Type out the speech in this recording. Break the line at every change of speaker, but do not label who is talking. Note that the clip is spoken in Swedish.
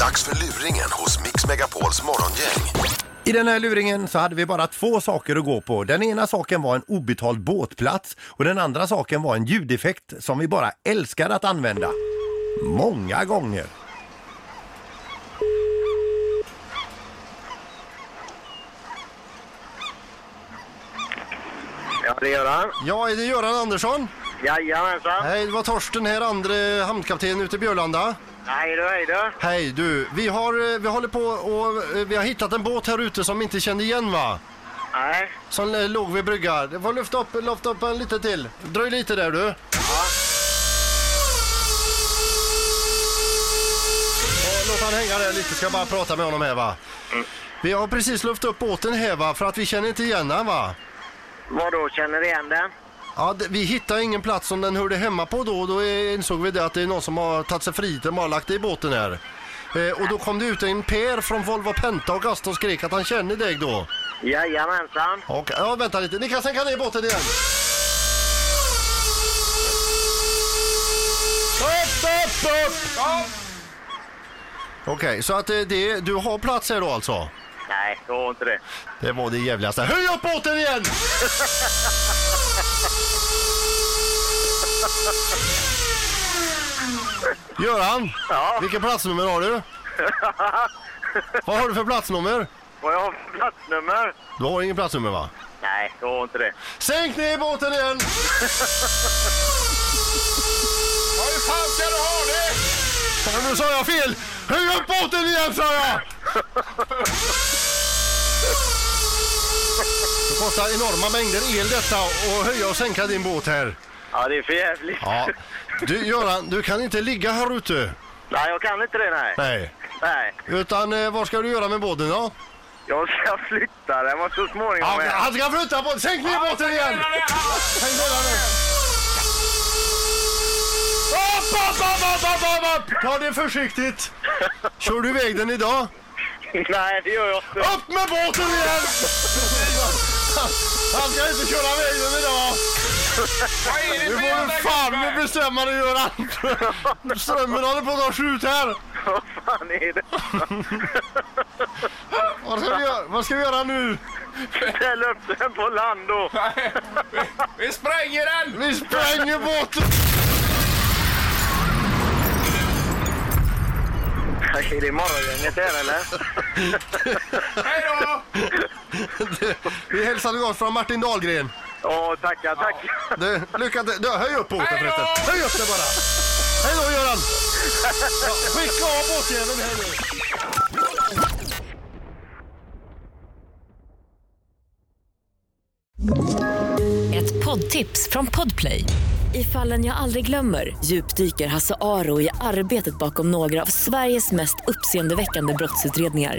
Dags för luringen hos Mix Megapols morgongäng.
I den här luringen så hade vi bara två saker att gå på. Den ena saken var en obetald båtplats och den andra saken var en ljudeffekt som vi bara älskar att använda. Många gånger.
Ja, det gör han.
Ja, är det Göran Andersson?
Jajamensan.
Hej, det var Torsten här, andra hamnkapten ute i Björlanda.
Hej då, hej då.
Hej du, vi har, eh, vi håller på och eh, vi har hittat en båt här ute som vi inte kände igen va?
Nej.
Som eh, låg vid bryggan. Det var lyft upp, lyft upp en lite till. Dröj lite där du. Eh, Låt han hänga där lite, ska bara prata med honom här va. Vi har precis lyft upp båten här va, för att vi känner inte igen den va.
Vadå, känner du igen den?
Ja, det- vi hittade ingen plats som den hörde hemma på då och då insåg vi det att det är någon som har tagit sig frihet och bara lagt det i båten här. Eh, och då kom det ut en Per från Volvo Penta och Gaston och skrek att han känner dig då.
Jajamensan.
Och, ja, vänta lite. Ni kan sänka ner båten igen. Upp, upp, upp! Okej, så att eh, det, du har plats här då alltså?
Nej, det var inte det.
Det var det jävligaste. Höj upp båten igen! Göran,
Ja.
vilken platsnummer har du? Vad har du för platsnummer?
Vad jag har för platsnummer?
Du har ingen platsnummer va?
Nej, det var inte det.
Sänk ner båten igen!
Ja, hur fan ska du ha det?
Ja, Nu sa jag fel! Höj upp båten igen sa jag! Det kostar enorma mängder el detta och höja och sänka din båt här.
Ja, det är för jävligt.
Ja. Du Göran, du kan inte ligga här ute.
Nej, jag kan inte det, nej.
Nej.
Nej.
Utan eh, vad ska du göra med båten då?
Jag ska flytta den var så småningom.
Ja, han ska flytta båten! Sänk ner båten igen! Sänk ner den. Upp, upp, upp, upp, upp, upp, upp! Ta det försiktigt. Kör du iväg den idag?
Nej, det gör jag inte.
Upp med båten igen! Han ska inte köra iväg den idag.
Vad är
Nu
det för
får du
jävla
fan
gubbe?
med bestämma dig Göran. Strömmen håller på att ta slut här.
Vad fan är det?
Vad ska vi göra, vad ska vi göra nu?
Ställ upp den på land då.
Nej, vi- Vi spränger den!
Vi spränger båten!
Är det morgongänget här eller?
Hej då!
Vi hälsar gott från Martin Dahlgren.
Ja, tackar, tackar.
Du, lycka till. Du, höj upp båten
Hej då!
förresten. Höj upp den bara. Hej då Göran. Ja, skicka av båtjäveln här nu.
Ett poddtips från Podplay. I fallen jag aldrig glömmer djupdyker Hasse Aro i arbetet bakom några av Sveriges mest uppseendeväckande brottsutredningar.